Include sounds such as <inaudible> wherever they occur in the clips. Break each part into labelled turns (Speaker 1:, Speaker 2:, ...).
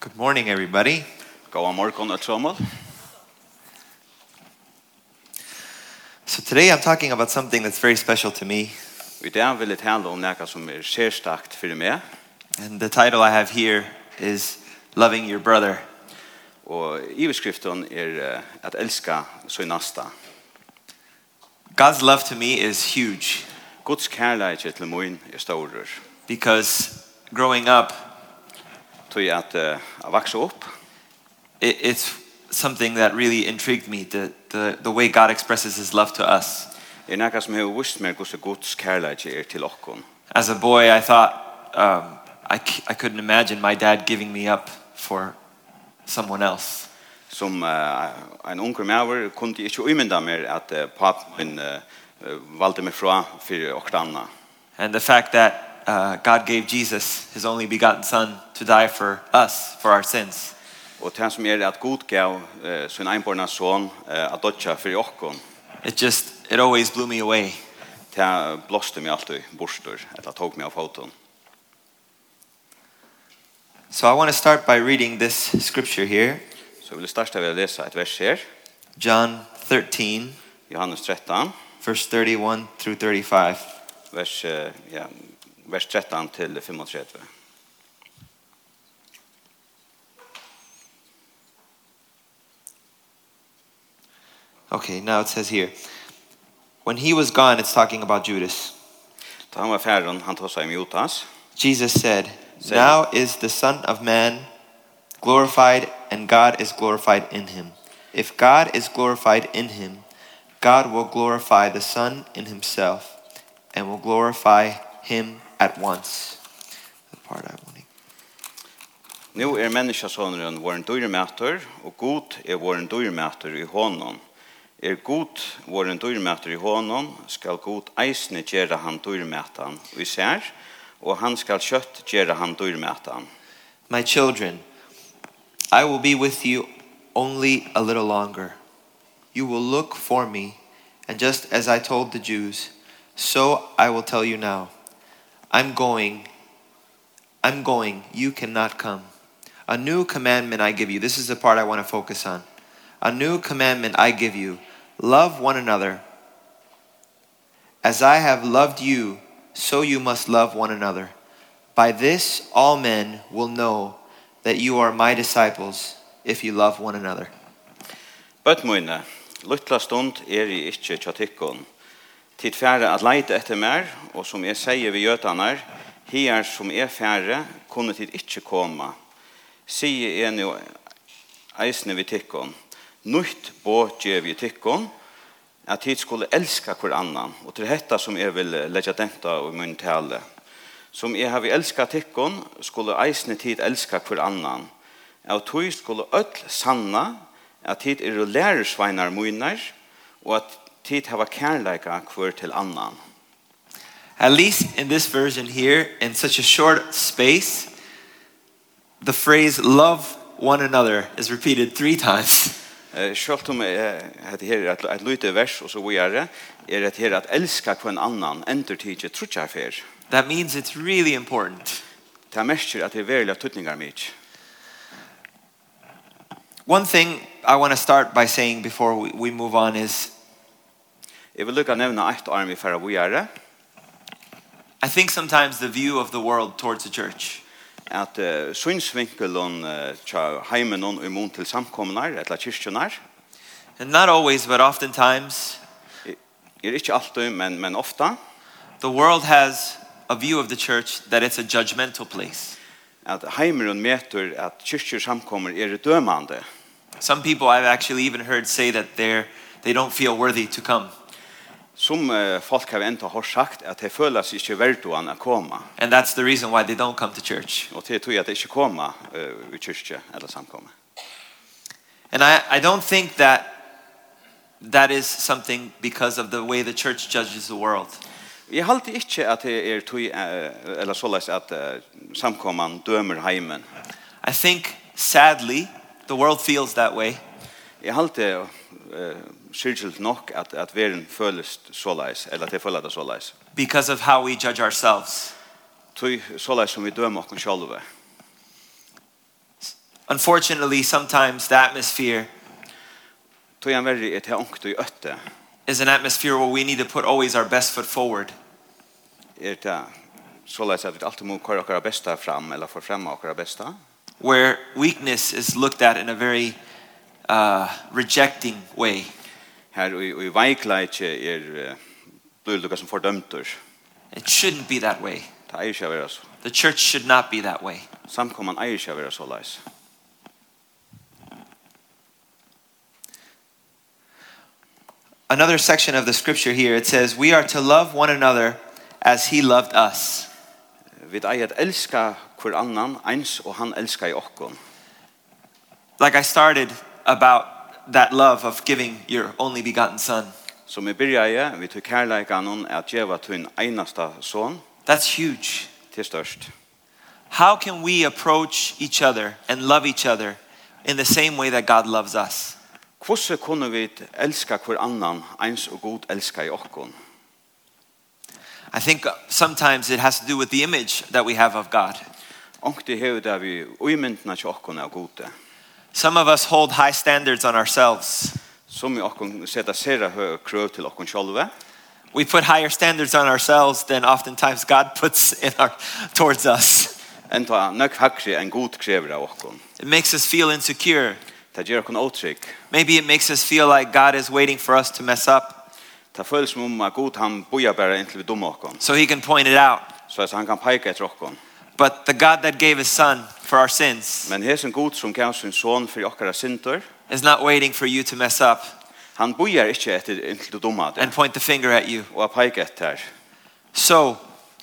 Speaker 1: Good morning, everybody.
Speaker 2: Góðan morgun öll saman.
Speaker 1: So today I'm talking about something that's very special to me.
Speaker 2: I dag vil jeg tale om noe som er særstakt for meg,
Speaker 1: And the title I have here is Loving Your Brother.
Speaker 2: og iverskriften er eh, at elska sin nasta.
Speaker 1: God's love to me is huge
Speaker 2: Guds kærleik til min er stårer.
Speaker 1: because growing up,
Speaker 2: Tøy at eh, jeg vokser opp,
Speaker 1: it, it's something that really intrigued me, the, the, the way God expresses his love to us.
Speaker 2: er noe som har vist meg hvordan Guds kærleik er til okkon.
Speaker 1: As a boy, I thought um, I, c- I couldn't imagine my dad giving me up for someone else.
Speaker 2: Som eh, en unge maver kunne jeg ikke umynda meg at eh, papen min eh, eh, valgte meg fra for okkur anna.
Speaker 1: And the fact that uh, God gave Jesus, his only begotten son, to die for us, for our sins.
Speaker 2: Og det som er at god gav eh, sin einborna son eh, at dodja for okkon,
Speaker 1: It just, it always blew me away.
Speaker 2: Det blåste mig alltid borstor, eller tog mig av foton.
Speaker 1: So I want to start by reading this scripture here,
Speaker 2: Så jeg vil starta ved å lese et vers her,
Speaker 1: John 13,
Speaker 2: Johannes 13,
Speaker 1: verse 31 through 35.
Speaker 2: vers, eh, ja, vers 13 til 35.
Speaker 1: Okay, now it says here, When he was gone, it's talking about Judas.
Speaker 2: Da han var færen, han tog seg med Jotas.
Speaker 1: Jesus said,
Speaker 2: Say-
Speaker 1: Now is the Son of Man glorified, and God is glorified in him. If God is glorified in him, God will glorify the Son in himself, and will glorify him at once. The part I want to
Speaker 2: Nå er menneskesåneren vår en dyrmæter, og god er vår en dyrmæter i hånden. Er god vår en dyrmæter i hånden, skal god eisne gjøre han dyrmætan i sær, og han skal kjøtt gjøre han dyrmætan.
Speaker 1: My children, I will be with you only a little longer. You will look for me, and just as I told the Jews, so I will tell you now. I'm going. I'm going. You cannot come. A new commandment I give you. This is the part I want to focus on. A new commandment I give you. Love one another. As I have loved you, so you must love one another. By this all men will know that you are my disciples if you love one another.
Speaker 2: Bøtt mine, luttla stund er i ikkje tjatikkon. Tid færre at leite etter mer, og som jeg sier vi gjøtanar, her som er færre, kunne tid ikkje koma. Sige er nu eisne vi tikkon. Nutt bå gjev vi tikkon, at tid skulle elska hver annan, og til hetta som jeg vil leggja denta og mun tale. Som jeg har vi elska tikkon, skulle eisne tid elska hver annan. Av tog skulle öll sanna at tid er lærersveinar munar, og at tid hava kærleika hver til annan.
Speaker 1: At least in this version here, in such a short space, the phrase love one another is repeated three times.
Speaker 2: Eh, Sjølt om eh, hette her er et, et lite vers og så videre, er det her at elska hver annan endur tidje trutja fer.
Speaker 1: That means it's really important.
Speaker 2: Det merker at det er verilig tutningar mitt.
Speaker 1: One thing I want to start by saying before we, we move on is
Speaker 2: Jeg vil lukka nevna eit arm i færre videre,
Speaker 1: I think sometimes the view of the world towards the church
Speaker 2: at uh, synsvinkelen uh, tja heimen og imon til samkomnar, etla kyrkjonar,
Speaker 1: And not always, but oftentimes,
Speaker 2: er ikke alltid, men, men ofta,
Speaker 1: the world has a view of the church that it's a judgmental place.
Speaker 2: at heimeren meter at kyrkjur samkommer er dømande.
Speaker 1: Some people I've actually even heard say that they're, they don't feel worthy to come.
Speaker 2: Som uh, folk har enda har sagt at de føler seg ikke verdoan å komme,
Speaker 1: And that's the reason why they don't come to church.
Speaker 2: og til tog at de ikke kommer uh, i kyrkje eller samkommer.
Speaker 1: And I, I don't think that that is something because of the way the church judges the world.
Speaker 2: Jeg halte ikke at det er tog, uh, eller såleis at uh, samkomman dømer heimen.
Speaker 1: I think, sadly, the world feels that way.
Speaker 2: Jeg halte uh, syrkjult nok at, at verden føles såleis, eller at de føler det såleis.
Speaker 1: Because of how we judge ourselves.
Speaker 2: Tui såleis som vi dømer okken sjálve.
Speaker 1: Unfortunately, sometimes the atmosphere
Speaker 2: Tog han verri et her ångt og i øtte,
Speaker 1: is an atmosphere where we need to put always our best foot forward.
Speaker 2: er det såleis at vi alltid må køre okkara besta fram, eller få fremme okkara besta.
Speaker 1: where weakness is looked at in a very uh, rejecting way.
Speaker 2: Her og i, og i veikleitje er uh, blodlukka som fordømter.
Speaker 1: It shouldn't be that way.
Speaker 2: Det eier ikke å være så.
Speaker 1: The church should not be that way.
Speaker 2: Samkomman eier ikke å være såleis.
Speaker 1: Another section of the scripture here it says, We are to love one another as he loved us.
Speaker 2: Vi eier at elska hver annan, eins og han elskar i okkon.
Speaker 1: Like I started about that love of giving your only begotten son.
Speaker 2: Som vi byrjaði, vi tog kærleikanon at djeva tunn einasta son
Speaker 1: That's huge.
Speaker 2: til størst.
Speaker 1: How can we approach each other and love each other in the same way that God loves us?
Speaker 2: Hvordan kunne vi elska hver annan, eins og god elskar i okkon?
Speaker 1: I think uh, sometimes it has to do with the image that we have of God.
Speaker 2: Onkti hevur det vi uimyndina til okkon av gode.
Speaker 1: Some of us hold high standards on ourselves.
Speaker 2: Som vi okkon seta sera høy krøv til okkon sjálve.
Speaker 1: We put higher standards on ourselves than oftentimes God <laughs> puts in our, towards us.
Speaker 2: Enda nøkk hakri en god krever av okkon.
Speaker 1: It makes us feel insecure.
Speaker 2: Det gjør okkon åtrykk.
Speaker 1: Maybe it makes us feel like God is waiting for us to mess up
Speaker 2: Det føles som om at god han boja bare inntil vi dumme okkon.
Speaker 1: so he can point it out.
Speaker 2: Så at han kan peika etter okkon.
Speaker 1: But the God that gave his son for our sins
Speaker 2: Men hesen god som gav sin son fyrir okkara synder,
Speaker 1: is not waiting for you to mess up
Speaker 2: han bojar ikkje etter inntil du dumma det.
Speaker 1: and point the finger at you.
Speaker 2: Og at peika etter.
Speaker 1: So,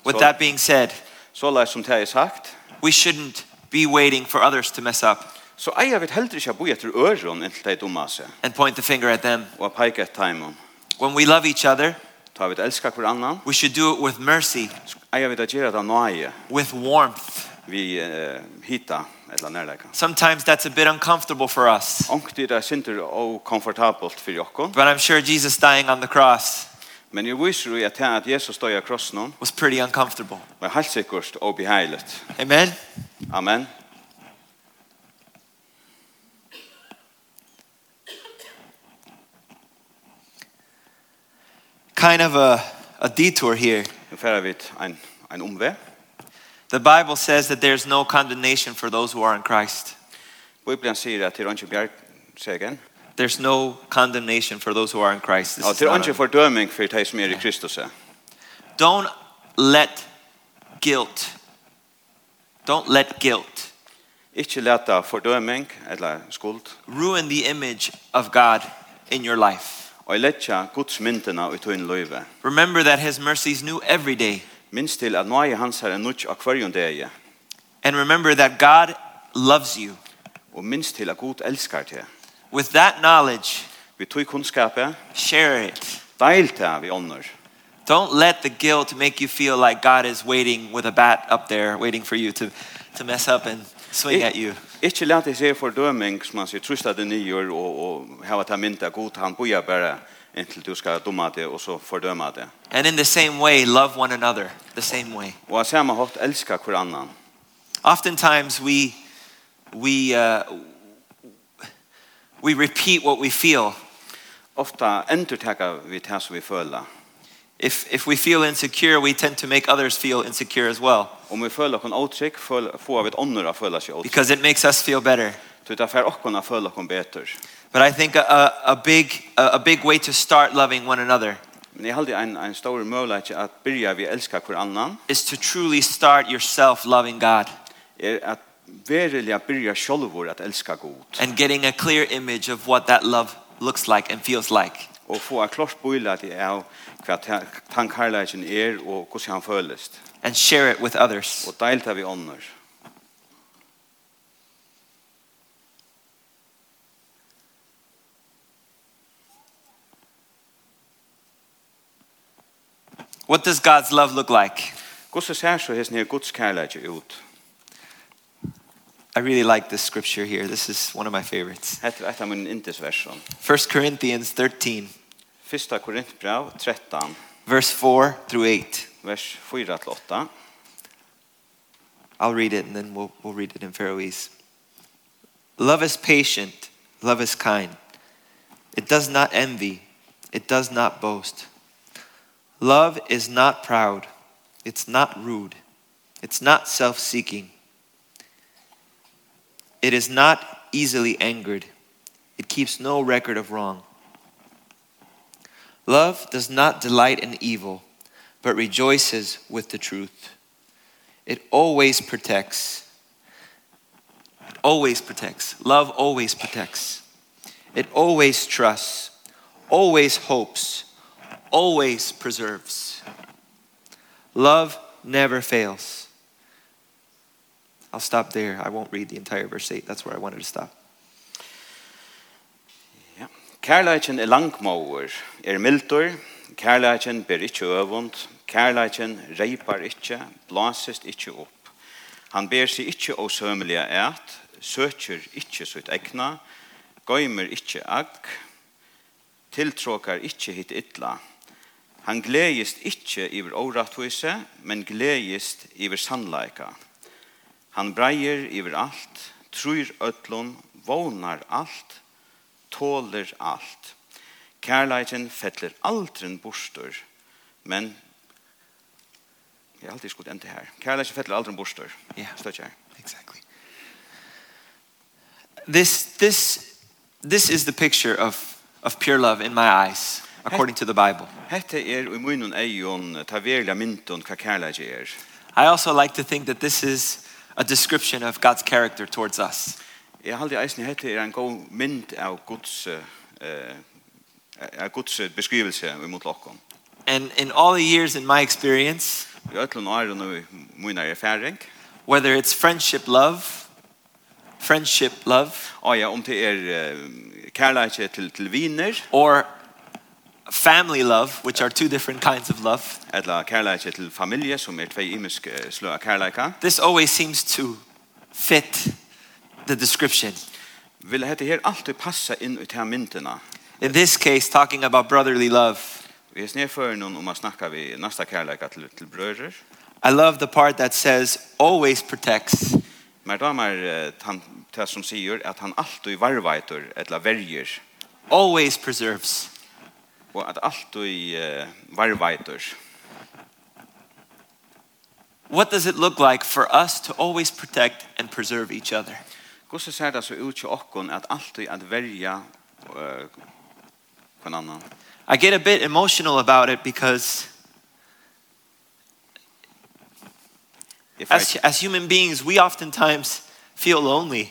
Speaker 1: with
Speaker 2: So-
Speaker 1: that being said,
Speaker 2: Så lai som det er sagt,
Speaker 1: we shouldn't be waiting for others to mess up
Speaker 2: så eier vi heldur ikkje at boja etter øron inntil det er dumma seg.
Speaker 1: and point the finger at them.
Speaker 2: Og at peika etter taimon.
Speaker 1: When we love each other,
Speaker 2: Ta vi elska hver annan,
Speaker 1: we should do it with mercy,
Speaker 2: eier vi det gjera det nøye.
Speaker 1: with warmth.
Speaker 2: vi eh, hita eller nærleika.
Speaker 1: Sometimes that's a bit uncomfortable for us.
Speaker 2: Onkti det sinter og komfortabelt for jokkon,
Speaker 1: But I'm sure Jesus dying on the cross
Speaker 2: men jeg viser jo at det at Jesus stod i krossen hon,
Speaker 1: was pretty uncomfortable.
Speaker 2: var helt sikkert og beheilet.
Speaker 1: Amen?
Speaker 2: Amen.
Speaker 1: Kind of a, a detour here.
Speaker 2: Nu færer vi til en, en omve.
Speaker 1: The Bible says that there's no condemnation for those who are in Christ.
Speaker 2: Bibelen sier at til åndsje bjerg segen,
Speaker 1: There's no condemnation for those who are in Christ. This
Speaker 2: og
Speaker 1: is
Speaker 2: til
Speaker 1: not
Speaker 2: åndsje fordøming for de som er i Kristus.
Speaker 1: a- don't let guilt, don't let guilt
Speaker 2: Ikke leta fordøming eller skuld,
Speaker 1: ruin the image of God in your life.
Speaker 2: og letja Guds myndina i tøyn løyve.
Speaker 1: Remember that His mercies new every day.
Speaker 2: Minns til at nøye hans her er nødt av hverjon deg,
Speaker 1: And remember that God loves you.
Speaker 2: og minns til at Gud elskar til.
Speaker 1: With that knowledge,
Speaker 2: Vi tøy kunnskapet,
Speaker 1: share it.
Speaker 2: deil til vi ånder.
Speaker 1: Don't let the guilt make you feel like God is waiting with a bat up there, waiting for you to, to mess up and swing
Speaker 2: Ik-
Speaker 1: at you.
Speaker 2: Ikke lät det sig fördömning som man säger trösta det nyår och, och här var det mynta god han bojar bara intill du ska döma det och så fördöma det.
Speaker 1: And in the same way, love one another the same way.
Speaker 2: Och att samma hållt älska hver annan.
Speaker 1: Oftentimes, we, we, uh, we repeat what we feel.
Speaker 2: Ofta entertäcka vi det som vi följa.
Speaker 1: If, if we feel insecure, we tend to make others feel insecure as well
Speaker 2: Om vi följa kon åtryck föl, får vi ett ånder att följa sig åtryck.
Speaker 1: because it makes us feel better.
Speaker 2: Så det är för åkon att följa kon bättre.
Speaker 1: But I think a, a, a, big, a, a big way to start loving one another
Speaker 2: Men jag hade en, en stor möjlighet att börja vi älska hver annan
Speaker 1: is to truly start yourself loving God
Speaker 2: är att verkligen börja självor att älska god.
Speaker 1: and getting a clear image of what that love looks like and feels like.
Speaker 2: Och få ett klart bojla till av vad tankarlägen är och hur han följs.
Speaker 1: and share it with others.
Speaker 2: og deilta vi ånder.
Speaker 1: What does God's love look like?
Speaker 2: Hvordan ser så hesten her Guds kærleik ut?
Speaker 1: I really like this scripture here. This is one of my favorites.
Speaker 2: Hette er et av min intesversen.
Speaker 1: 1 Corinthians 13,
Speaker 2: 1. Korintbrev 13,
Speaker 1: verse 4 through 8.
Speaker 2: vers 4-8.
Speaker 1: I'll read it and then we'll, we'll read it in Faroese. Love is patient. Love is kind. It does not envy. It does not boast. Love is not proud. It's not rude. It's not self seeking. It is not easily angered. It keeps no record of wrong. Love does not delight in evil, but rejoices with the truth. It always protects. It always protects. Love always protects. It always trusts, always hopes, always preserves. Love never fails. I'll stop there. I won't read the entire verse 8. That's where I wanted to stop.
Speaker 2: Ja. Kærleiken er langmåur, er mildur, kærleiken ber ikkje øvund, kærleiken reipar ikkje, blasist ikkje opp. Han ber seg ikkje åsømelige eit, søkjer ikkje sitt egna, gøymer ikkje agg, tiltråkar ikkje hitt illa. Han gledist ikkje iver årattvise, men gledist iver sannleika. Han breier iver alt, trur ötlun, vånar alt, tåler alt. Kærleiken fettler aldrin bostur, men jeg har alltid skutt enda her. Kærleiken fettler aldrin bostur.
Speaker 1: Ja.
Speaker 2: Støtt her.
Speaker 1: Exactly. This this this is the picture of of pure love in my eyes according to the Bible.
Speaker 2: Hette er i munnen eion ta verla myndun hva kærleik er.
Speaker 1: I also like to think that this is a description of God's character towards us.
Speaker 2: Jeg halde eisen hette er en god mynd av Guds eh, av Guds beskrivelse imot lokkom.
Speaker 1: And in all the years in my experience,
Speaker 2: I ötlun åren og munnar erfaring,
Speaker 1: whether it's friendship love, friendship love
Speaker 2: og ja, om det er eh, kærleik til, til viner,
Speaker 1: or family love, which are two different kinds of love,
Speaker 2: eller kærleik til familie, som er tvei imiske sløa kærleika,
Speaker 1: this always seems to fit the description.
Speaker 2: vil hette her alltid passa inn ut her myndina.
Speaker 1: In this case, talking about brotherly love.
Speaker 2: Vi er snedfører noen om å snakka vi nasta kærleika til, til brører,
Speaker 1: I love the part that says always protects.
Speaker 2: Men da er han det som sier at han alltid varveitur eller verger
Speaker 1: always preserves.
Speaker 2: og at alltid uh, varveitur.
Speaker 1: What does it look like for us to always protect and preserve each other?
Speaker 2: Hvordan ser det så ut til okkon at alltid at verja uh, en annan?
Speaker 1: I get a bit emotional about it because
Speaker 2: Jeg får,
Speaker 1: as, as human beings, we oftentimes feel lonely.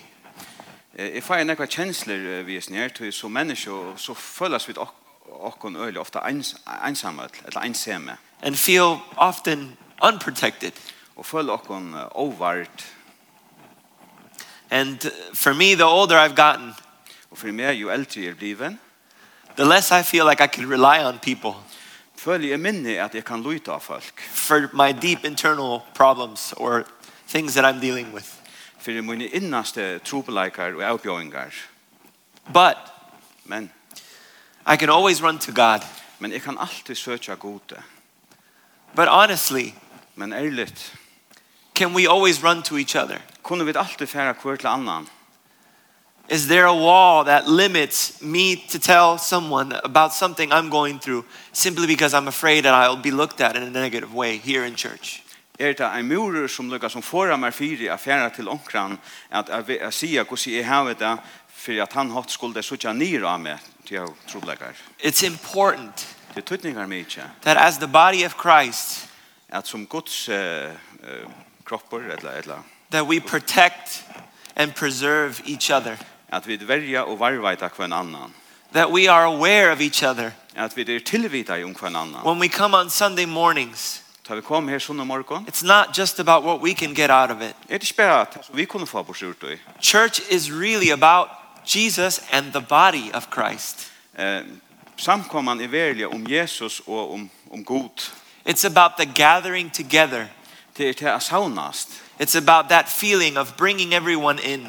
Speaker 2: eh, jeg får nekva kjensler eh, vi er snir til som mennesker så føles vi ok okkon øyelig ofte ens, ensamme eller ensame
Speaker 1: and feel often unprotected.
Speaker 2: og føler okkon eh, ovart
Speaker 1: And uh, for me, the older I've gotten,
Speaker 2: og for meg jo eldre jeg er bliven
Speaker 1: the less I feel like I can rely on people
Speaker 2: føler jeg minne at jeg kan lyta av folk
Speaker 1: for my deep internal problems or things that I'm dealing with.
Speaker 2: fyrir mine innaste trobeleikar og avbjóingar.
Speaker 1: But
Speaker 2: Men,
Speaker 1: I can always run to God.
Speaker 2: men jeg kan alltid søkja gode.
Speaker 1: But honestly,
Speaker 2: Men ærligt,
Speaker 1: can we always run to each other?
Speaker 2: kunne vi alltid færa hver til annan?
Speaker 1: Is there a wall that limits me to tell someone about something I'm going through simply because I'm afraid that I'll be looked at in a negative way here in church?
Speaker 2: Er det ein murur som lukka som fåra meg fyri a færa til onkran at a, ve- a sia hvordan jeg har det fyrir at han hatt skulle søkja nir av meg til jeg trobeleikar.
Speaker 1: It's important
Speaker 2: Det er tøtningar mig ikkje
Speaker 1: that as the body of Christ
Speaker 2: at som Guds eh, eh, kroppar eller, eller
Speaker 1: that we protect and preserve each other,
Speaker 2: at vi verja og varvaita kvann annan.
Speaker 1: that we are aware of each other.
Speaker 2: At vi er tilvita i om kvann annan.
Speaker 1: When we come on Sunday mornings,
Speaker 2: Ta vi kom her sunn morgon,
Speaker 1: it's not just about what we can get out of it.
Speaker 2: Er det ikke bare at vi kunne få bort ut i?
Speaker 1: Church is really about Jesus and the body of Christ.
Speaker 2: Eh, samkomman er verlig om Jesus og om, om god.
Speaker 1: It's about the gathering together.
Speaker 2: Det er til å saunast.
Speaker 1: It's about that feeling of bringing everyone in.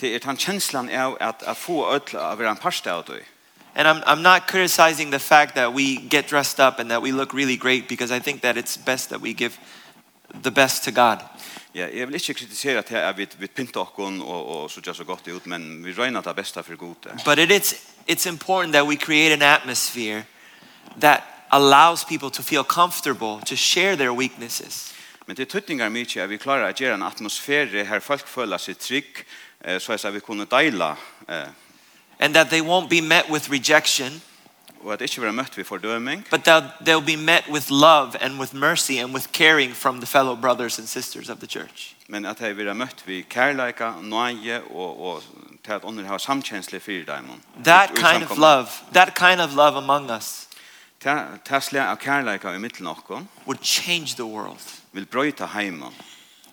Speaker 2: Det er den kjenslan av at, at få ødel av en parste av det.
Speaker 1: And I'm, I'm not criticizing the fact that we get dressed up and that we look really great because I think that it's best that we give the best to God.
Speaker 2: Ja, jeg vil ikke kritisere til at er vi, vi pynter okken og, og så så godt ut, men vi røyner det beste for gode.
Speaker 1: But it, it's, it's important that we create an atmosphere that allows people to feel comfortable to share their weaknesses.
Speaker 2: Men det tøtningar mykje at vi klarer at gjøre en atmosfære her folk føler seg trygg, eh, så at vi kunne deila, eh,
Speaker 1: And that they won't be met with rejection,
Speaker 2: og at ikke være møtt ved fordøming,
Speaker 1: but that they'll be met with love and with mercy and with caring from the fellow brothers and sisters of the church.
Speaker 2: men at jeg vil være møtt ved kærleika, nøye og, og til at ånder har samkjensle for dem.
Speaker 1: That kind of love, that kind of love among us
Speaker 2: Til at slæ av kærleika i middelen okken
Speaker 1: would change the world.
Speaker 2: vil brøyta heimen.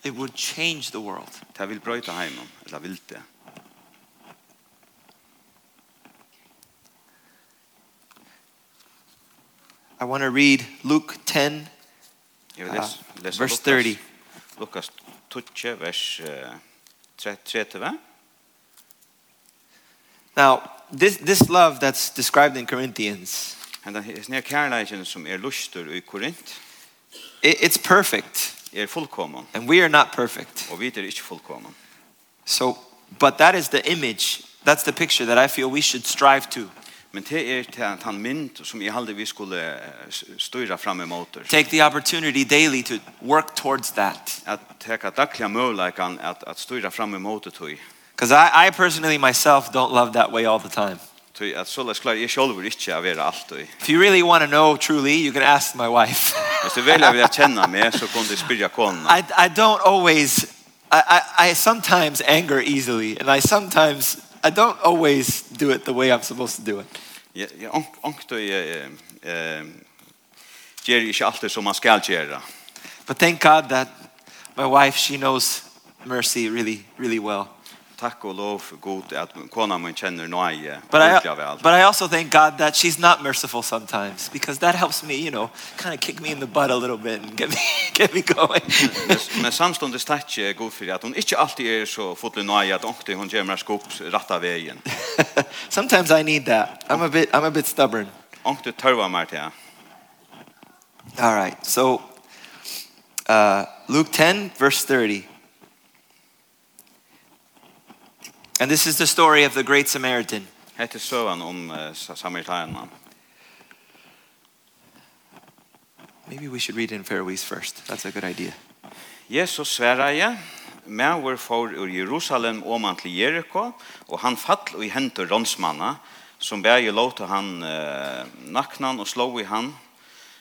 Speaker 1: It would change the world.
Speaker 2: Til vil brøyta heimen, eller vil det.
Speaker 1: I want to read Luke 10,
Speaker 2: Jeg vil
Speaker 1: Ja,
Speaker 2: lese, lese
Speaker 1: vers
Speaker 2: Lukas-
Speaker 1: 30.
Speaker 2: Lukas 12, vers eh, tre- 30.
Speaker 1: Now, this, this love that's described in Corinthians,
Speaker 2: Hendan hesnir kærleiken som er lustur i Korint
Speaker 1: it, it's perfect,
Speaker 2: er fullkommen,
Speaker 1: and we are not perfect.
Speaker 2: og vi er ikke fullkommen.
Speaker 1: So, but that is the image, that's the picture that I feel we should strive to.
Speaker 2: Men det er ta- tan mynd som jeg halde vi skulle eh, s- styra fram emot.
Speaker 1: Take the opportunity daily to work towards that.
Speaker 2: At teka dagliga møguleikan at, at styra fram emot tui.
Speaker 1: Because I, I personally myself don't love that way all the time.
Speaker 2: Tui at såleis klar jeg sjolver ikke av vera alt tui.
Speaker 1: If you really want to know truly, you can ask my wife. <laughs>
Speaker 2: Hvis du velja vil jeg kjenna meg, så kunne du spyrja kona.
Speaker 1: I, I don't always, I, I, I sometimes anger easily, and I sometimes, I don't always do it the way I'm supposed to do it.
Speaker 2: Jeg, jeg onk, onk tui eh, eh, gjer ikke alltid som man skal gjera.
Speaker 1: But thank God that my wife, she knows mercy really, really well.
Speaker 2: Takk og lov god at kona min kjenner nøye.
Speaker 1: But I,
Speaker 2: ordentlig vel.
Speaker 1: but I also thank God that she's not merciful sometimes because that helps me, you know, kind of kick me in the butt a little bit and get me, <laughs> get me going.
Speaker 2: Men- Men samståndes takk er god for at hun ikke alltid er så fotlig nøye at ångte hun gjemmer seg opp rett av veien.
Speaker 1: sometimes I need that. I'm a bit, I'm a bit stubborn.
Speaker 2: Ångte tørva meg til.
Speaker 1: All right. So uh, Luke 10, verse 30. And this is the story of the Great Samaritan.
Speaker 2: Hette søvann om uh, samaritanen.
Speaker 1: Maybe we should read in Faroese first. That's a good idea.
Speaker 2: Jesus sverreie, Mauer for ur Jerusalem åman til Jericho, og han fall og i hentur rånsmanna, som bæge låta han uh, naknan og slå i han.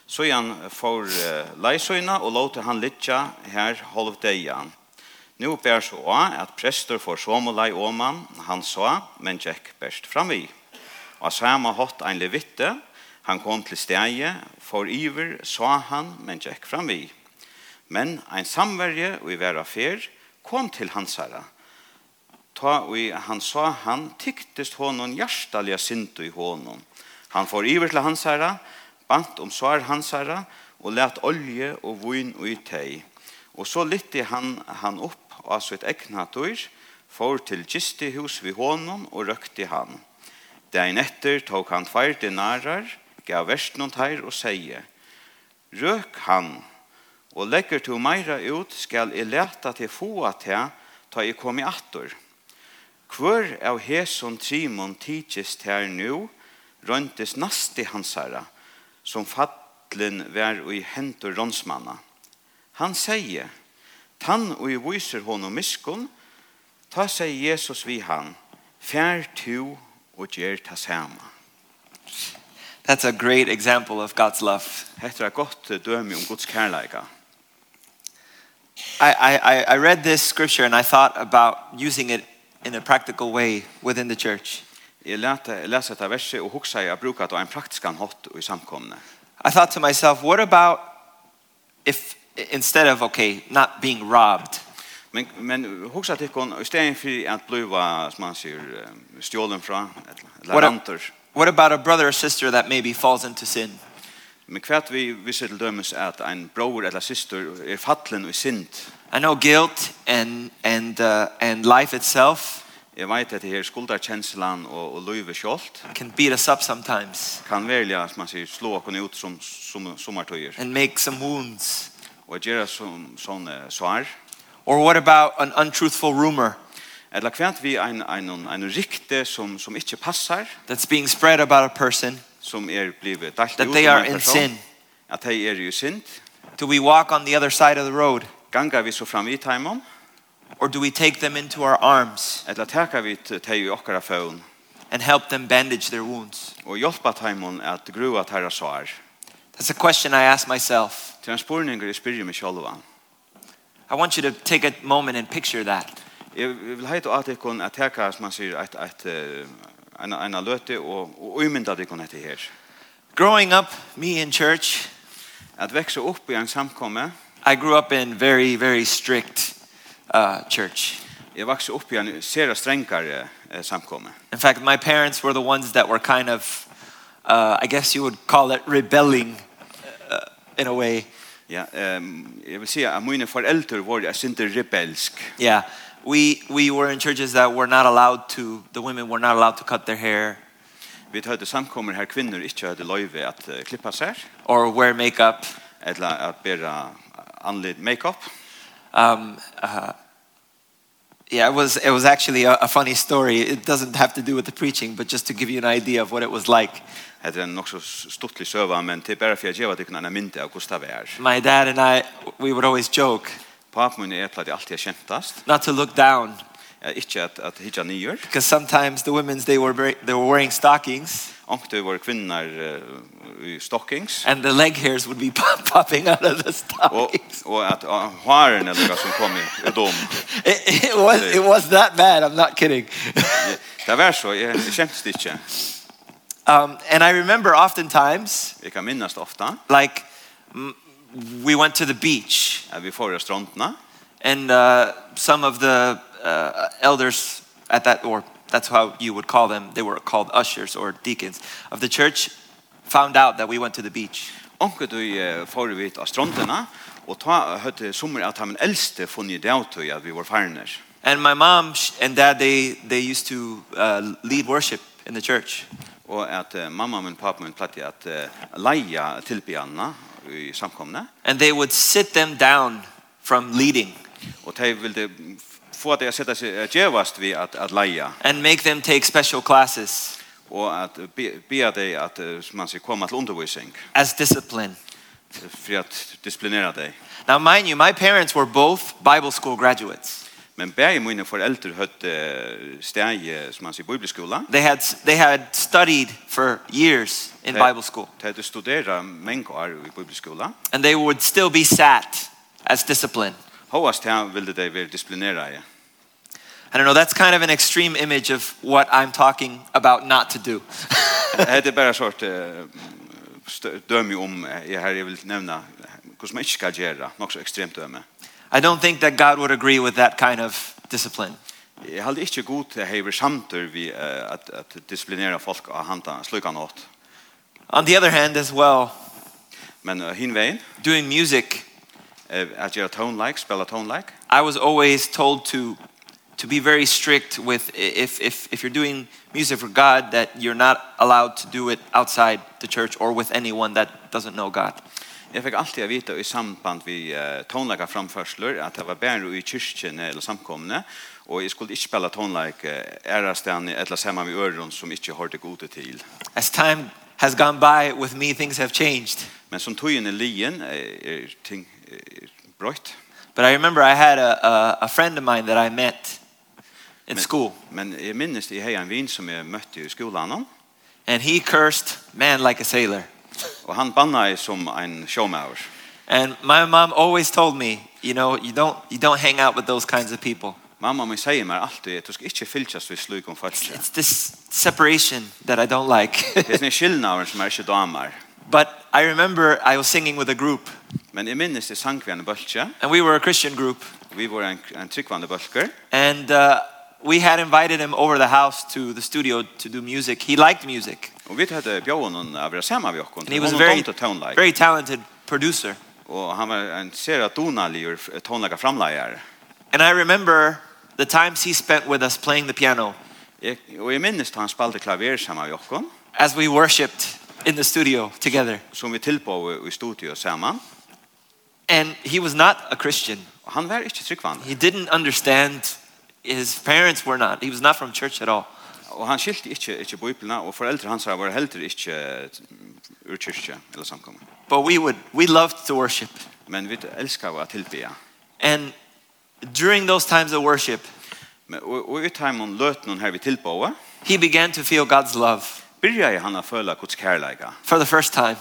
Speaker 2: Så han for uh, leisøyna og låta han litja her halvdeian. Nå bær så av at prester for somalai åman, han sa, men tjekk best framvi. Og sama hatt ein levitte, han kom til steie, for iver sa han, men tjekk framvi. Men ein samverje og i vera fer kom til hans herra. Ta og i han sa han tyktest honom hjertaliga sintu i honom. Han får iver til hans herra, bant om svar hans herra, og let olje og vun og i tei. Og så lytte han han opp av sitt egna dør, for til gistihus vi honom og røkte han. Dagen etter tok han tveir dinarar, gav versen teir og seie, Røk han, og legger to meira ut skal jeg leta til få at jeg ta jeg kom i attor. Kvør av heson trimon tidsist her nu røntes nasti hans herra som fattlen vær og i hentur rånsmanna. Han sier, tann og i viser honom miskon, ta seg Jesus vi han, fær tu og gjer ta sama.
Speaker 1: That's a great example of God's love.
Speaker 2: Hetta er gott dømi om Guds kærleika.
Speaker 1: I, I, I- I read this scripture and I thought about using it in a practical way within the church.
Speaker 2: Jeg lærte läsa detta verset och huxa jag brukar ta en praktiskan hot i samkomne.
Speaker 1: I thought to myself, what about if instead of, okay, not being robbed,
Speaker 2: Men men huxa till kon istället för att bliva som man säger eh, stjålen från ett- eller
Speaker 1: What a-
Speaker 2: rantor.
Speaker 1: what about a brother or sister that maybe falls into sin?
Speaker 2: Men kvärt vi vi ser till dömes att en bror eller syster är fallen i synd.
Speaker 1: I know guilt and, and, uh, and life itself
Speaker 2: Jag vet att det här skuldarkänslan och och löve skolt
Speaker 1: can beat us up sometimes
Speaker 2: kan välja som man säger slå och ut som som sommartöjer
Speaker 1: and make some wounds
Speaker 2: och göra som sån eh, svar
Speaker 1: Or what about an untruthful rumor
Speaker 2: Eller kvært vi ein ein ein rykte som som ikkje passar,
Speaker 1: that's being spread about a person
Speaker 2: som er blivet dalt
Speaker 1: that they are in sin?
Speaker 2: At dei er jo synd.
Speaker 1: Do we walk on the other side of the road?
Speaker 2: Ganga vi så fram i timon,
Speaker 1: Or do we take them into our arms
Speaker 2: eller taka vi t- tei i okkara faun
Speaker 1: and help them bandage their wounds?
Speaker 2: og hjelpa timon at grua tæra sår.
Speaker 1: That's a question I ask myself.
Speaker 2: Til ein spurningur eg spyrji meg sjálva.
Speaker 1: I want you to take a moment and picture that.
Speaker 2: Jeg vil heita at eg kun at taka som man sier at at ein ein løte og og uymynda det kun hetta her.
Speaker 1: Growing up, me in church,
Speaker 2: At veksa upp i ein samkomme,
Speaker 1: I grew up in very, very strict uh, church.
Speaker 2: eg vaksa upp i ein sera strengare eh, samkomme.
Speaker 1: In fact, my parents were the ones that were kind of, uh, I guess you would call it rebelling uh, in a way.
Speaker 2: Ja, ehm jag vill säga att mina föräldrar var jag synte rebelsk.
Speaker 1: Yeah. We, we were in churches that were not allowed to, the women were not allowed to cut their hair
Speaker 2: Vi hade samkommer här kvinnor inte hade löjve att eh, klippa sig
Speaker 1: or wear makeup.
Speaker 2: eller att bära anled makeup.
Speaker 1: Um, uh, yeah, it was, it was actually a, a funny story. It doesn't have to do with the preaching, but just to give you an idea of what it was like.
Speaker 2: Det är en också stortlig söva men er det är bara för att jag tycker en minne av er. Gustav är.
Speaker 1: My dad and I, we would always joke
Speaker 2: Pappa min är platt alltid käntast.
Speaker 1: not to look down
Speaker 2: Eh, inte att att hitta nyer.
Speaker 1: because sometimes the women's they were very, they were wearing stockings
Speaker 2: Onkte var kvinnor eh, i stockings
Speaker 1: and the leg hairs would be <laughs> pop popping out of the
Speaker 2: och
Speaker 1: stocking.
Speaker 2: och att ah, haren eller något som kom i i dom.
Speaker 1: It, it was it was that bad. I'm not kidding. <laughs>
Speaker 2: Det var så jag känns det inte.
Speaker 1: um, and I remember oftentimes
Speaker 2: Jag kan minnas det ofta.
Speaker 1: like m- we went to the beach
Speaker 2: Eh, Vi får strandna
Speaker 1: and uh, some of the uh, elders at that or that's how you would call them. They were called ushers or deacons of the church. Found out that we went to the beach.
Speaker 2: Onkel du får vi av strandene, og ta høyte sommer at han eldste funnet det av at vi var farner.
Speaker 1: And my mom sh- and dad, they, they used to uh, lead worship in the church.
Speaker 2: Og at eh, mamma min, pappa min platt i at eh, leia tilbyanna i samkomne,
Speaker 1: And they would sit them down from leading
Speaker 2: og de ville f- få at jeg sette seg eh, djevast vi at, at leia,
Speaker 1: and make them take special classes
Speaker 2: og at be, be de at eh, som man sier komme til undervisning,
Speaker 1: as discipline.
Speaker 2: for at disiplinera de.
Speaker 1: Now, mind you, my parents were both Bible school graduates.
Speaker 2: Men bæg mine foreldre høyte steg, eh, som man sier, bibelskola,
Speaker 1: They had, they had studied for years in
Speaker 2: Hey.
Speaker 1: Bible school,
Speaker 2: de hadde studera mange år i bibelskola,
Speaker 1: and they would still be sat as discipline.
Speaker 2: Håast her ville de være disiplinera i.
Speaker 1: I don't know, that's kind of an extreme image of what I'm talking about not to do. <laughs>
Speaker 2: <laughs> Det är bara sort eh, stö- döme om eh, jag här jag vill nämna hur man inte ska göra, något så extremt döme.
Speaker 1: I don't think that God would agree with that kind of discipline.
Speaker 2: Jag hade inte god hever samtur vi eh, att att disciplinera folk och hanta sluka något.
Speaker 1: On the other hand, as well,
Speaker 2: Men eh, hin vägen
Speaker 1: doing music,
Speaker 2: eh, att göra tone like, spela tone like.
Speaker 1: I was always told to to be very strict with i- if if if you're doing music for God that you're not allowed to do it outside the church or with anyone that doesn't know God.
Speaker 2: Jag fick alltid veta i samband vi eh, tone like framförslor att det var bara i kyrkan eller samkomne och jag skulle inte spela tone like ärastan eller samma med öron som inte hörde gode till.
Speaker 1: As time has gone by with me, things have changed.
Speaker 2: Men som tog in i lien eh, er ting eh, er brøtt.
Speaker 1: But I remember I had a a, a friend of mine that I met in
Speaker 2: Men-
Speaker 1: school,
Speaker 2: Men jeg minnes det hei en vin som jeg møtte i skolan om,
Speaker 1: and he cursed man like a sailor.
Speaker 2: og han banna jeg som en showmauer.
Speaker 1: And my mom always told me, you know, you don't you don't hang out with those kinds of people.
Speaker 2: Mamma min sier meg alltid, du skal ikke fylkjast ved sluk om
Speaker 1: It's,
Speaker 2: falske.
Speaker 1: it's this separation that I don't like. <laughs>
Speaker 2: Det er sånne skillnader som er ikke damer.
Speaker 1: But I remember I was singing with a group,
Speaker 2: Men jeg minnes det sang vi en bølge,
Speaker 1: and we were a Christian group,
Speaker 2: vi var en, en tryggvande bølger,
Speaker 1: and uh, we had invited him over the house to the studio to do music. He liked music,
Speaker 2: og vi hadde bjøen og av det samme vi okken,
Speaker 1: and he
Speaker 2: og
Speaker 1: was a
Speaker 2: hun
Speaker 1: very,
Speaker 2: kom til tonelike,
Speaker 1: very talented producer.
Speaker 2: og han var en ser at donalier tonelike framleier.
Speaker 1: And I remember the times he spent with us playing the piano
Speaker 2: Jeg, og jeg minnes da han spalte klaver sammen med okken,
Speaker 1: as we worshipped in the studio together.
Speaker 2: som vi tilbå i studio sammen,
Speaker 1: and he was not a Christian.
Speaker 2: Og han var ikke tryggvande.
Speaker 1: He didn't understand. His parents were not. He was not from church at all.
Speaker 2: Og han skilte ikke, ikke bøyplene, og foreldre hans var heller ikke mm, ur kyrkje eller samkommet.
Speaker 1: But we would we loved to worship.
Speaker 2: Men vi elskar å tilbya.
Speaker 1: And during those times of worship,
Speaker 2: Men, og, og ut her man løt noen her vi tilbåa,
Speaker 1: he began to feel God's love
Speaker 2: byrja jeg han å føle Guds kærleika
Speaker 1: for the first time.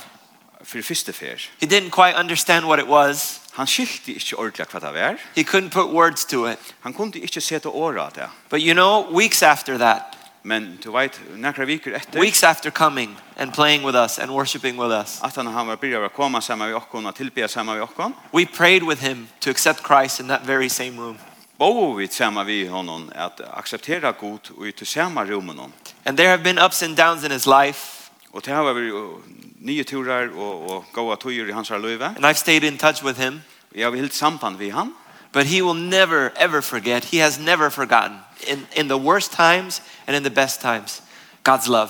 Speaker 2: for første fer.
Speaker 1: He didn't quite understand what it was.
Speaker 2: Han skilte ikke ordentlig hva det var.
Speaker 1: He couldn't put words to it.
Speaker 2: Han kunne ikke se til året det.
Speaker 1: But you know, weeks after that,
Speaker 2: Men du vet, nekra viker etter,
Speaker 1: weeks after coming and playing with us and worshiping with us,
Speaker 2: at han har byrja å komme sammen med okkon og tilbya sammen med okkon,
Speaker 1: we prayed with him to accept Christ in that very same room.
Speaker 2: bo vi sammen med honom at akseptera god og ut til samme rummen om.
Speaker 1: And there have been ups and downs in his life,
Speaker 2: Og det har vært jo nye turer og, og gode turer i hans løyve.
Speaker 1: and I've stayed in touch with him.
Speaker 2: Jeg har helt samband med han.
Speaker 1: But he will never, ever forget. He has never forgotten. In, in the worst times and in the best times, God's love.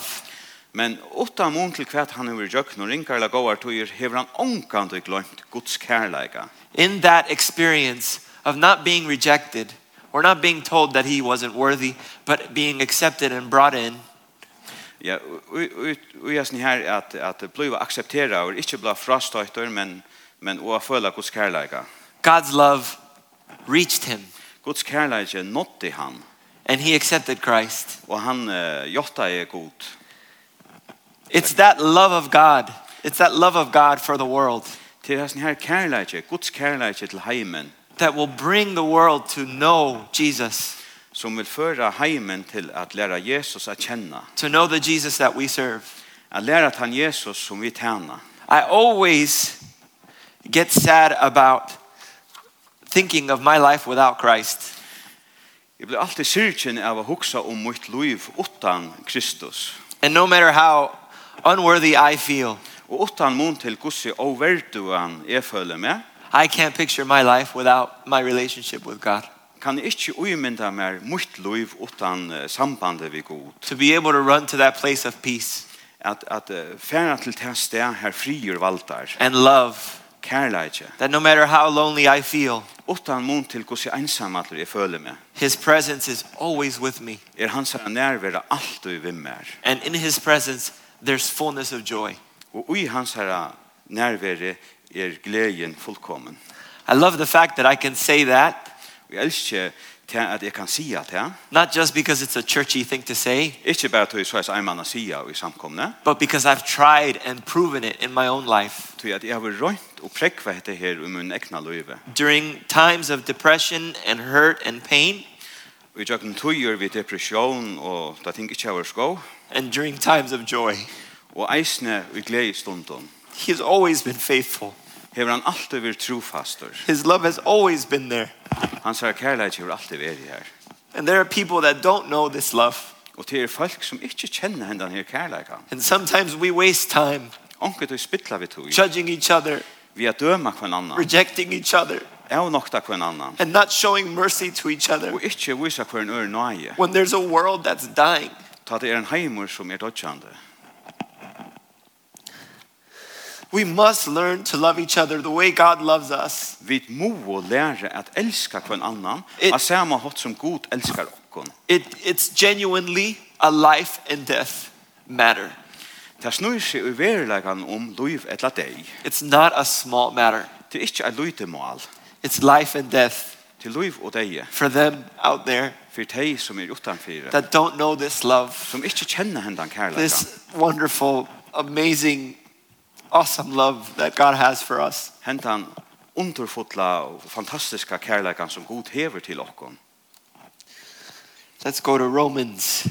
Speaker 2: Men åtta mån til hvert han har gjøkt når ringer eller gåar tøyer, hever han ångkant og glemt Guds kærleika.
Speaker 1: In that experience of not being rejected or not being told that he wasn't worthy, but being accepted and brought in,
Speaker 2: Ja, og jeg sånn her at, at det blir akseptera og ikke blir frastøyter, men, men å føle Guds kærleika.
Speaker 1: God's love reached him
Speaker 2: Guds kærleika nådde han,
Speaker 1: and he accepted Christ.
Speaker 2: og han uh, jotta er god.
Speaker 1: It's that love of God. It's that love of God for the world
Speaker 2: Til hans her kærleika, Guds kærleika til heimen,
Speaker 1: that will bring the world to know Jesus,
Speaker 2: som vil føre heimen til at læra Jesus at kjenne.
Speaker 1: to know the Jesus that we serve.
Speaker 2: At læra at han Jesus som vi tjener.
Speaker 1: I always get sad about thinking of my life without Christ.
Speaker 2: Jeg blir alltid syrkjen av å huksa om mitt liv utan Kristus.
Speaker 1: And no matter how unworthy I feel,
Speaker 2: Og utan mun til gussi overduan jeg føler meg,
Speaker 1: I can't picture my life without my relationship with God.
Speaker 2: kan jeg ikke uimynda meg mitt liv utan eh, sambandet vi god.
Speaker 1: To be able to run to that place of peace
Speaker 2: At, at eh, færa til det sted her frier valtar,
Speaker 1: and love,
Speaker 2: kærleikje.
Speaker 1: that no matter how lonely I feel,
Speaker 2: Utan mun til gussi einsamallir jeg føler meg,
Speaker 1: His presence is always with me.
Speaker 2: er hans her nærværa alltid vi mer.
Speaker 1: And in His presence, there's fullness of joy.
Speaker 2: Og ui hans her nærværa er gleden fullkommen.
Speaker 1: I love the fact that I can say that,
Speaker 2: Og jeg elsker til at jeg kan sia til,
Speaker 1: not just because it's a churchy thing to say,
Speaker 2: ikke bare til så jeg er mann å sia i samkomne,
Speaker 1: but because I've tried and proven it in my own life.
Speaker 2: Tui at jeg har røynt og prekva hette her i min egna løyve.
Speaker 1: during times of depression and hurt and pain
Speaker 2: Og i tjøkken tøyer vi depresjon og da ting ikke har skå.
Speaker 1: and during times of joy.
Speaker 2: Og eisne og glede i stunden.
Speaker 1: He's always been faithful.
Speaker 2: Hever han alltid vært trofastor.
Speaker 1: His love has always been there.
Speaker 2: Hans her kærleik hever alltid vært her.
Speaker 1: And there are people that don't know this love.
Speaker 2: Og det er folk som ikke kjenner hendan her kærleikan.
Speaker 1: And sometimes we waste time
Speaker 2: Onke tøy spittla vi tøy.
Speaker 1: judging each other,
Speaker 2: Vi er døma kvann annan.
Speaker 1: rejecting each other,
Speaker 2: Jeg nokta kvann annan.
Speaker 1: and not showing mercy to each other
Speaker 2: Og ikke vise hver en øre nøye.
Speaker 1: when there's a world that's dying.
Speaker 2: Ta det er en heimur som er dodgjande.
Speaker 1: We must learn to love each other the way God loves us.
Speaker 2: Vi må lære at elska kvann annan.
Speaker 1: It-
Speaker 2: At samme hot som god elskar okkon.
Speaker 1: It, it's genuinely a life and death matter.
Speaker 2: Det snur seg um i verilegan om liv etla deg.
Speaker 1: It's not a small matter,
Speaker 2: Det er ikke et lite mål.
Speaker 1: it's life and death.
Speaker 2: Til liv er og deg.
Speaker 1: for them out there
Speaker 2: For deg som er utanfyr.
Speaker 1: that don't know this love,
Speaker 2: Som ikke kjenner hendan kærleikan.
Speaker 1: this wonderful, amazing, awesome love that God has for us.
Speaker 2: Hendan underfotla og fantastiska kærleikan som god hever til okkon.
Speaker 1: Let's go to Romans.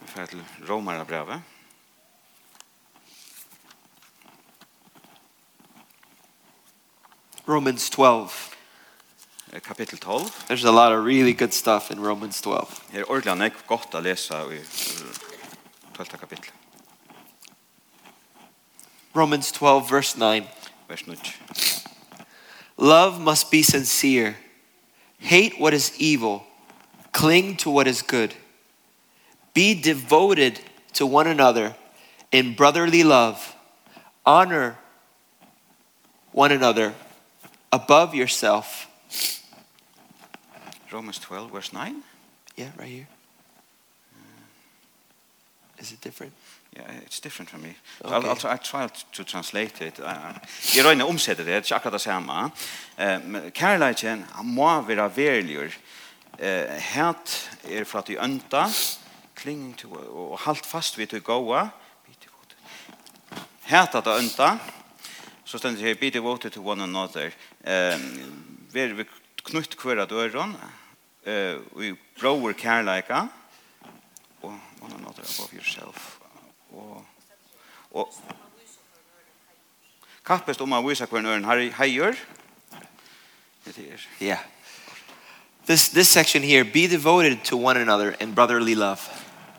Speaker 2: Vi fer til romara brevet.
Speaker 1: Romans 12.
Speaker 2: Kapittel 12.
Speaker 1: There's a lot of really good stuff in Romans 12.
Speaker 2: Her er ordentlig nekv godt å lesa i eh, 12. kapittel.
Speaker 1: Romans 12, verse 9.
Speaker 2: Vers 9.
Speaker 1: Love must be sincere. Hate what is evil. Cling to what is good. Be devoted to one another in brotherly love. Honor one another above yourself.
Speaker 2: Romans 12, verse 9.
Speaker 1: Yeah, right here. Is it different?
Speaker 2: Yeah, it's different for me. So
Speaker 1: Okay.
Speaker 2: I'll, I'll, try- I'll try to translate it. Uh, jeg røyner omsetter det, det er ikke akkurat det samme. Uh, men kærleiken han må være veriljør. Uh, het er for at vi ønta, klingen til og og halt fast vi til gåa. Het at vi ønta, så stender det her, be devoted to one another. Um, Ver vi knutt hver av døren, uh, vi broer kærleika, og one another above yourself. Og, og kappest um om å vise hver nøren heier. Det er
Speaker 1: Yeah. This this section here, be devoted to one another in brotherly love.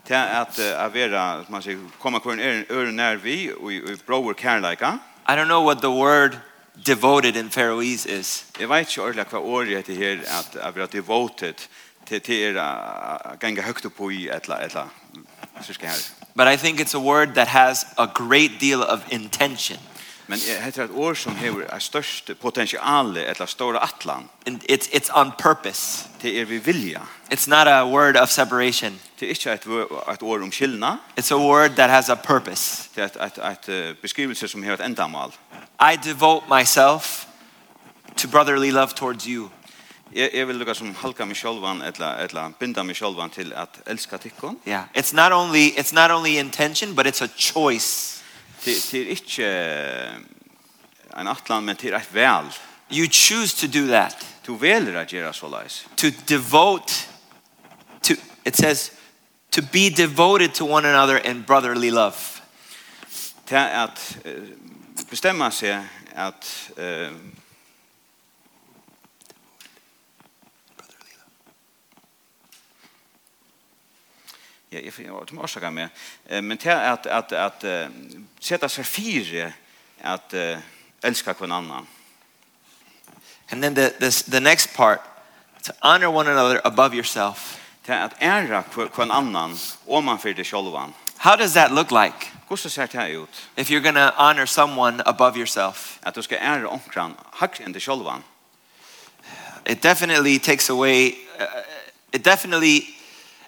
Speaker 2: til at uh, vera, man sier, komme hver nøren øren nær vi, og i- og i broer kærleika.
Speaker 1: I don't know what the word devoted in Faroese is.
Speaker 2: Jeg vet ikke ordentlig hva året heter her, at jeg vera devoted til, til er å gange høyt opp i et eller et eller annet. cirka her.
Speaker 1: But I think it's a word that has a great deal of intention.
Speaker 2: Men jeg heter et år som hever er størst potensiale, et eller større atlan,
Speaker 1: And it's it's on purpose.
Speaker 2: til er vi vilja.
Speaker 1: It's not a word of separation.
Speaker 2: Det er ikke et, vø- et år om skillna,
Speaker 1: It's a word that has a purpose.
Speaker 2: det er et, et, et eh, beskrivelse som hever et endamal.
Speaker 1: I devote myself to brotherly love towards you.
Speaker 2: Jeg, jeg vil lukka som halka meg sjolvan, et eller et eller binda meg sjolvan til at elska tikkun.
Speaker 1: Yeah. It's not only it's not only intention, but it's a choice.
Speaker 2: Det det er ikke en atlan, men det er et vel.
Speaker 1: You choose to do that.
Speaker 2: Du veler å gjøre så leis.
Speaker 1: to devote to it says to be devoted to one another in brotherly love
Speaker 2: til at eh, bestemma seg at eh, ja, jeg får til årsaka med eh, men til at, at, at eh, sette seg fire at eh, elska hver annan
Speaker 1: and then the this, the next part to honor one another above yourself
Speaker 2: til at æra hver, hver annan om man fyrir det sjolvan
Speaker 1: how does that look like
Speaker 2: hvordan ser det ut
Speaker 1: if you're going to honor someone above yourself
Speaker 2: at du skal æra omkran hakk enn det sjolvan
Speaker 1: it definitely takes away uh, it definitely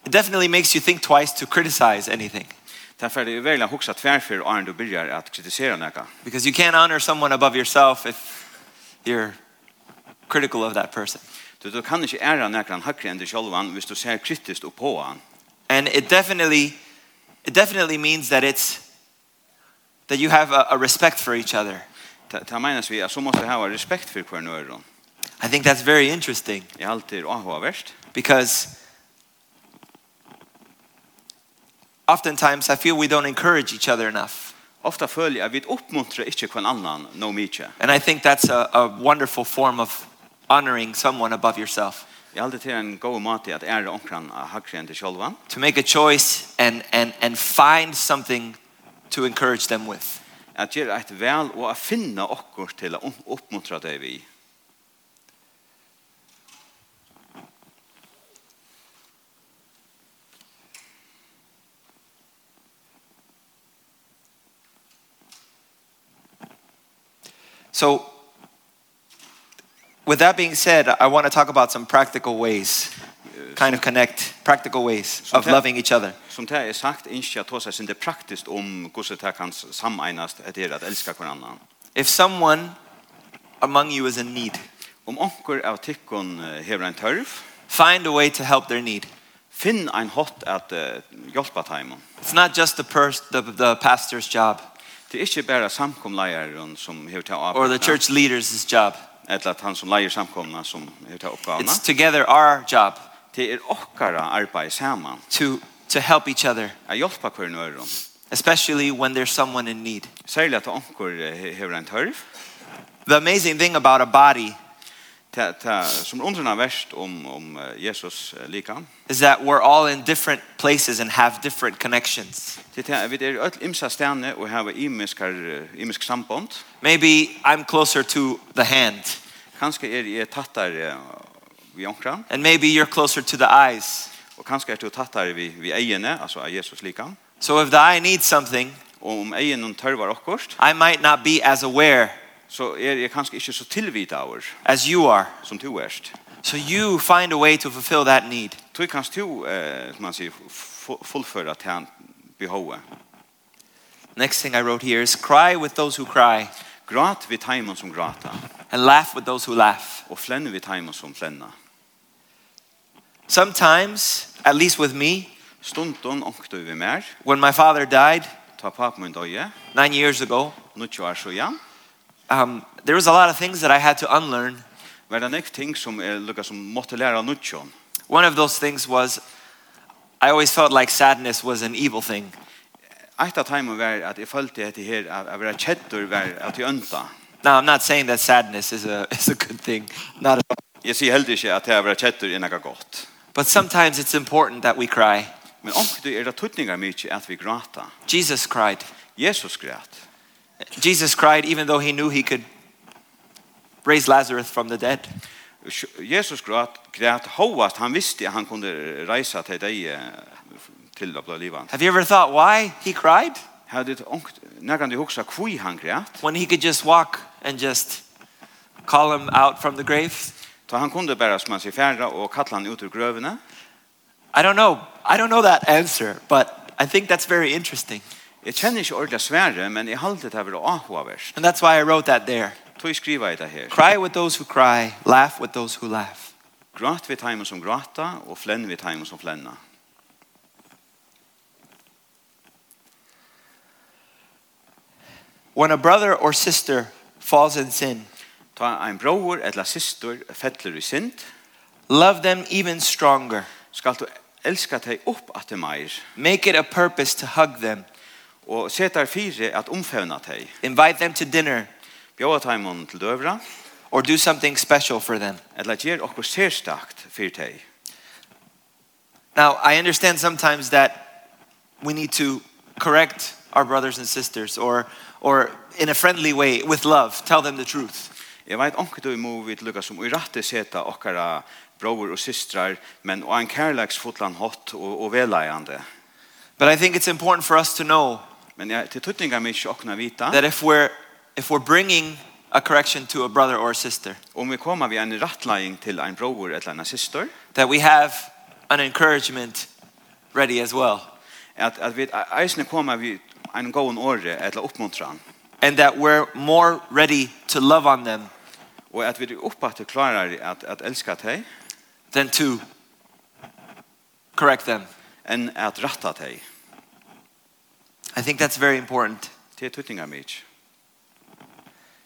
Speaker 1: it definitely makes you think twice to criticize anything
Speaker 2: Därför är det ju väl att huxa tvärför och du börjar att kritisera några.
Speaker 1: because you can't honor someone above yourself if you're critical of that person
Speaker 2: Du, du kan ikke ære nekran hakre enn du sjolvan hvis du ser kritisk opp på han.
Speaker 1: And it definitely, it definitely means that it's that you have a, a respect for each other.
Speaker 2: Ta, ta menas vi at så måste ha respekt for hver nøyron.
Speaker 1: I think that's very interesting
Speaker 2: Jeg er alltid avhåverst.
Speaker 1: because oftentimes I feel we don't encourage each other enough.
Speaker 2: Ofta føler jeg at vi oppmuntrer ikke hver annan no mykje.
Speaker 1: And I think that's a, a wonderful form of honoring someone above yourself.
Speaker 2: Jeg er alltid til en god måte at ære omkran hakre enn du sjolvan.
Speaker 1: To make a choice and, and, and find something to encourage them with.
Speaker 2: At gjøre et vel og at finne okkur til å oppmuntra deg vi.
Speaker 1: So, with that being said, I want to talk about some practical ways, kind of connect practical ways
Speaker 2: So
Speaker 1: of
Speaker 2: that-
Speaker 1: loving each other.
Speaker 2: Som det er sagt, ikke at hos er sinde praktisk om hvordan det kan sammenast etter at elska hver annan.
Speaker 1: If someone among you is in need,
Speaker 2: Om Um onkur av tikkun eh, hever en tørv,
Speaker 1: find a way to help their need.
Speaker 2: Finn ein hot at uh, hjálpa teimum.
Speaker 1: It's not just the, pers- the, the pastor's job
Speaker 2: Det er ikkje berre samkomleiaren som hevur ta oppgávuna.
Speaker 1: or the church leader's job.
Speaker 2: Ella at han som leier samkomna som hevur ta oppgávuna.
Speaker 1: It's together our job
Speaker 2: Det er okkara arbeið saman.
Speaker 1: to, to help each other,
Speaker 2: At hjálpa kvar nørum.
Speaker 1: especially when there's someone in need.
Speaker 2: Særlig at onkur eh, hevur ein tørv.
Speaker 1: The amazing thing about a body
Speaker 2: Ta, ta, som undruna verst om, om eh, Jesus eh, lika.
Speaker 1: is that we're all in different places and have different connections.
Speaker 2: Det er at vi er öll imsa stane og hava imiskar, eh, imisk sambond.
Speaker 1: Maybe I'm closer to the hand,
Speaker 2: Kanskje er jeg tattare vi onkran,
Speaker 1: and maybe you're closer to the eyes.
Speaker 2: og kanskje er du tattare vi, vi eiene, altså av Jesus lika.
Speaker 1: So if the eye needs something,
Speaker 2: Og om eienen tørvar okkurst,
Speaker 1: I might not be as aware
Speaker 2: så er jeg kanskje ikke så tilvita av
Speaker 1: as you are.
Speaker 2: som du erst.
Speaker 1: So you find a way to fulfill that need.
Speaker 2: Tog kanskje du, eh, som man sier, fu- fullføre til han behovet.
Speaker 1: Next thing I wrote here is cry with those who cry
Speaker 2: Grat vi teimen som grata,
Speaker 1: and laugh with those who laugh.
Speaker 2: og flenne vi teimen som flenna.
Speaker 1: Sometimes, at least with me,
Speaker 2: Stundon ångte vi mer,
Speaker 1: when my father died
Speaker 2: ta pap min døye,
Speaker 1: nine years ago,
Speaker 2: nu tjo er så igjen.
Speaker 1: um, there was a lot of things that I had to unlearn.
Speaker 2: Var det nek ting som er lukka som måtte læra nu tjon?
Speaker 1: One of those things was I always felt like sadness was an evil thing.
Speaker 2: Eit av teimen var at jeg følte etter her, at jeg var kjettur var at jeg ønta.
Speaker 1: Now, I'm not saying that sadness is a, <laughs> is a good thing, not at all.
Speaker 2: Jeg sier heldig ikke at jeg var kjettur er nekka godt.
Speaker 1: But sometimes it's important that we cry.
Speaker 2: Men ångte er det tuttningar mykje at vi grata.
Speaker 1: Jesus cried.
Speaker 2: Jesus græt.
Speaker 1: Jesus cried even though he knew he could raise Lazarus from the dead.
Speaker 2: Jesus græt, græt hovast, han visste at han kunde reisa til deg eh, til å bli livet.
Speaker 1: Have you ever thought why he cried
Speaker 2: Hadde det ångt, når kan du huske hvor han græt?
Speaker 1: when he could just walk and just call him out from the grave?
Speaker 2: Da han kunde bæra som han sier færa og kalla han ut ur grøvene.
Speaker 1: I don't know. I don't know that answer, but I think that's very interesting.
Speaker 2: Jeg kjenner ikke ordentlig svære, men jeg halte det var avhåverst.
Speaker 1: And that's why I wrote that there.
Speaker 2: Tog skriva jeg det her.
Speaker 1: Cry with those who cry, laugh with those who laugh.
Speaker 2: Græt vi teimen som græta, og flenn vi teimen som flenna.
Speaker 1: When a brother or sister falls in sin,
Speaker 2: Ta ein bror eller syster fettler i sint,
Speaker 1: love them even stronger.
Speaker 2: skal du elska deg opp at det meir,
Speaker 1: Make it a purpose to hug them.
Speaker 2: og se der fire at omfevna deg.
Speaker 1: Invite them to dinner
Speaker 2: Bjóa teimen til døvra,
Speaker 1: or do something special for them.
Speaker 2: eller gjer okkur sérstakt fyrir teg.
Speaker 1: Now, I understand sometimes that we need to correct our brothers and sisters or, or in a friendly way with love, tell them the truth.
Speaker 2: Jeg veit um onkur du må vi lukka som i rette seta okkara bror og systrar, men og ein kærleiksfotlan hott og, og velleiande.
Speaker 1: But I think it's important for us to know
Speaker 2: Men jeg, til tutninga mi ikke okna vita,
Speaker 1: that if we're, if we're bringing a correction to a brother or a sister,
Speaker 2: om vi um koma vi en rattlegging til ein bror eller en syster,
Speaker 1: that we have an encouragement ready as well.
Speaker 2: at, at vi eisne koma vi ein gåon åre eller oppmuntran,
Speaker 1: And that we're more ready to love on them
Speaker 2: og at vi er oppa til klarar at, at elska teg,
Speaker 1: than to correct them.
Speaker 2: enn at ratta teg.
Speaker 1: I think that's very important.
Speaker 2: Til tutninga mi ikke.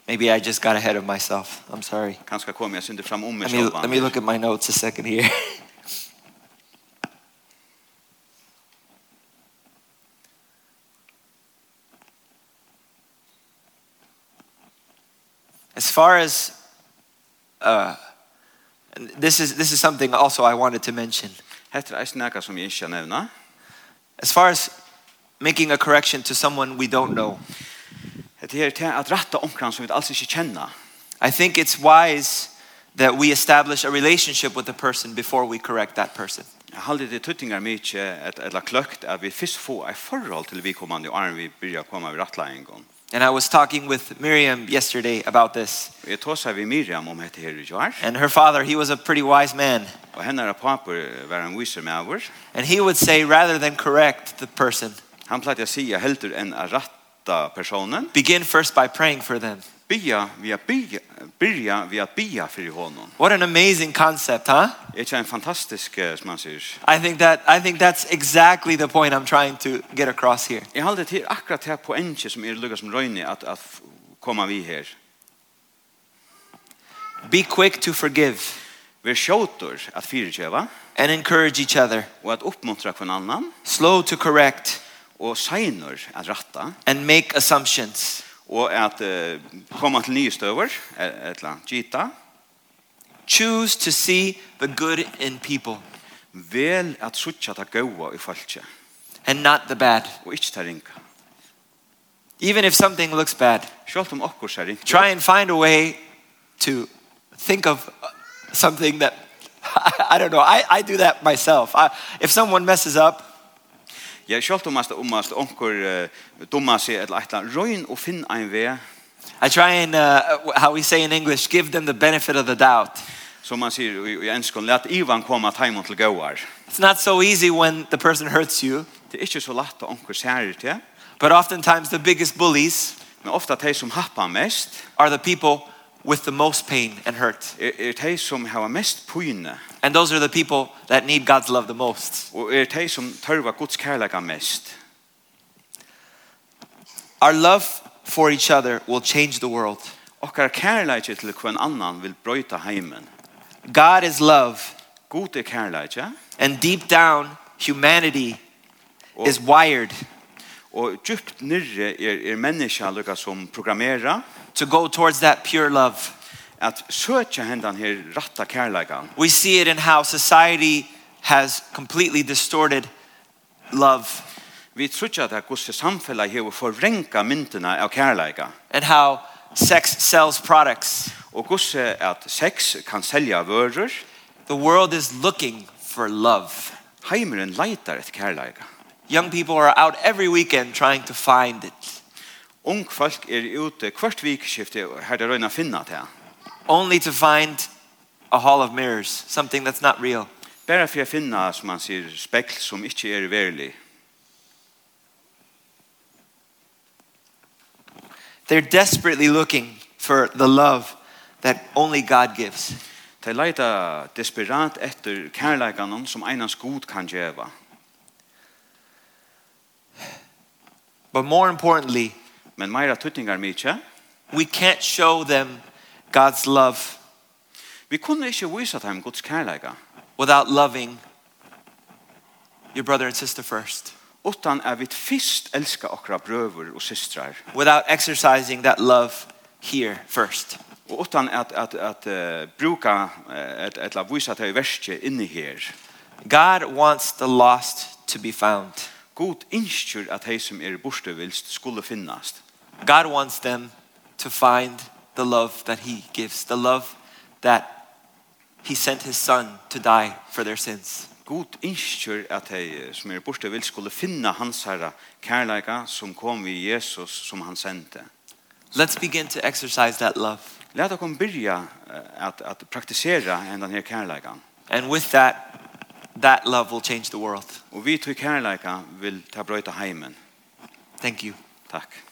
Speaker 1: Maybe I just got ahead of myself. I'm sorry.
Speaker 2: Kanskje kom jeg synder fram om meg
Speaker 1: Let me,
Speaker 2: sjálvan.
Speaker 1: let me look at my notes a second here. <laughs> as far as uh, and this is this is something also I wanted to mention.
Speaker 2: Hetta er eisne nekka som jeg ikke nevna.
Speaker 1: As far as making a correction to someone we don't know,
Speaker 2: Hetta her til at ratta omkran som vi alls ikke kjenna.
Speaker 1: I think it's wise that we establish a relationship with the person before we correct that person.
Speaker 2: Jeg halde det tuttingar mykje et, eller kløkt at vi fyrst få ei forhold til vi kommande og arn vi byrja koma vi rattleggingen.
Speaker 1: And I was talking with Miriam yesterday about this.
Speaker 2: Jeg tåsa vi Miriam om hette her i jar,
Speaker 1: And her father, he was a pretty wise man.
Speaker 2: og hennara papur var en viser med over.
Speaker 1: And he would say, rather than correct the person,
Speaker 2: Han pleide å sige heldur enn a ratta personen,
Speaker 1: begin first by praying for them.
Speaker 2: byrja vi a byrja, byrja vi a byrja fyrir honom.
Speaker 1: What an amazing concept, huh?
Speaker 2: Det er en fantastisk, eh, som man sier.
Speaker 1: I think, that, I think that's exactly the point I'm trying to get across here.
Speaker 2: Jeg halde til akkurat her poengje som er lukka som røyne at, at f- koma vi her.
Speaker 1: Be quick to forgive
Speaker 2: Vi er sjåtur at fyrirkjeva
Speaker 1: and encourage each other,
Speaker 2: og at oppmuntra kvann annan
Speaker 1: slow to correct
Speaker 2: og seinur at ratta
Speaker 1: and make assumptions.
Speaker 2: og at uh, koma til nye støver eh, etla gita
Speaker 1: Choose to see the good in people
Speaker 2: vel at suttja ta gaua i falche
Speaker 1: and not the bad,
Speaker 2: og ikkje ta ringa.
Speaker 1: even if something looks bad.
Speaker 2: Sjalt om um okkur ser ringa
Speaker 1: try and find a way to think of uh, something that <laughs> I, don't know. I, I do that myself. I, if someone messes up,
Speaker 2: um eh, Ja, sjalt om at om at onkur uh, dumma seg etla etla røyn og finn ein veg
Speaker 1: I try and, uh, how we say in English, give them the benefit of the doubt.
Speaker 2: Som man sier i, i enskån, let Ivan komme teimen til gåar.
Speaker 1: It's not so easy when the person hurts you,
Speaker 2: Det er ikke så lett å onker særer til,
Speaker 1: but oftentimes the biggest bullies
Speaker 2: men ofte de som happar mest,
Speaker 1: are the people with the most pain and hurt.
Speaker 2: er, er de som har mest pyne,
Speaker 1: And those are the people that need God's love the most.
Speaker 2: og er de som tørva Guds kærleika mest.
Speaker 1: Our love for each other will change the world.
Speaker 2: Okkar kærleika til hver annan vil brøyta heimen.
Speaker 1: God is love,
Speaker 2: God er kærleika,
Speaker 1: and deep down, humanity
Speaker 2: og,
Speaker 1: is wired
Speaker 2: og djupt nyrre er, er menneska lukka som programmera,
Speaker 1: to go towards that pure love.
Speaker 2: at søkja hendan her ratta kærleikan.
Speaker 1: We see it in how society has completely distorted love
Speaker 2: Vi trutja at hvordan samfellet hever forrenka myndina av kærleika,
Speaker 1: and how sex sells products.
Speaker 2: og hvordan at sex kan selja vører,
Speaker 1: The world is looking for love.
Speaker 2: heimeren leitar etter kærleika.
Speaker 1: Young people are out every weekend trying to find it,
Speaker 2: Ung folk er ute hvert vikskifte og her er røyna finna til.
Speaker 1: only to find a hall of mirrors, something that's not real.
Speaker 2: Bara for å finna, som man sier, spekkel som ikke er verlig.
Speaker 1: They're desperately looking for the love that only God gives.
Speaker 2: De leita desperat etter kærleikan som einans god kan djeva.
Speaker 1: But more importantly,
Speaker 2: Men meira tuttingar mykje.
Speaker 1: we can't show them God's love
Speaker 2: Vi kunne ikke vise dem Guds kærleika
Speaker 1: without loving your brother and sister first,
Speaker 2: utan at vi fyrst elska okra brøver og systrar.
Speaker 1: without exercising that love here first.
Speaker 2: Og utan at, at, at uh, bruka eh, et, et la vise til verste inni her.
Speaker 1: God wants the lost to be found.
Speaker 2: God innskjur at hei som er borstevilst skulle finnast.
Speaker 1: God wants them to find the love that he gives, the love that he sent his son to die for their sins.
Speaker 2: God innskjør at de som er borte vil skulle finne hans herre kærleika som kom ved Jesus som han sendte.
Speaker 1: Let's begin to exercise that love.
Speaker 2: La dere byrja eh, at, at praktisera enn denne kærleikan.
Speaker 1: And with that, that love will change the world.
Speaker 2: Og vi tog kærleika vil ta brøyta heimen.
Speaker 1: Thank you.
Speaker 2: Takk.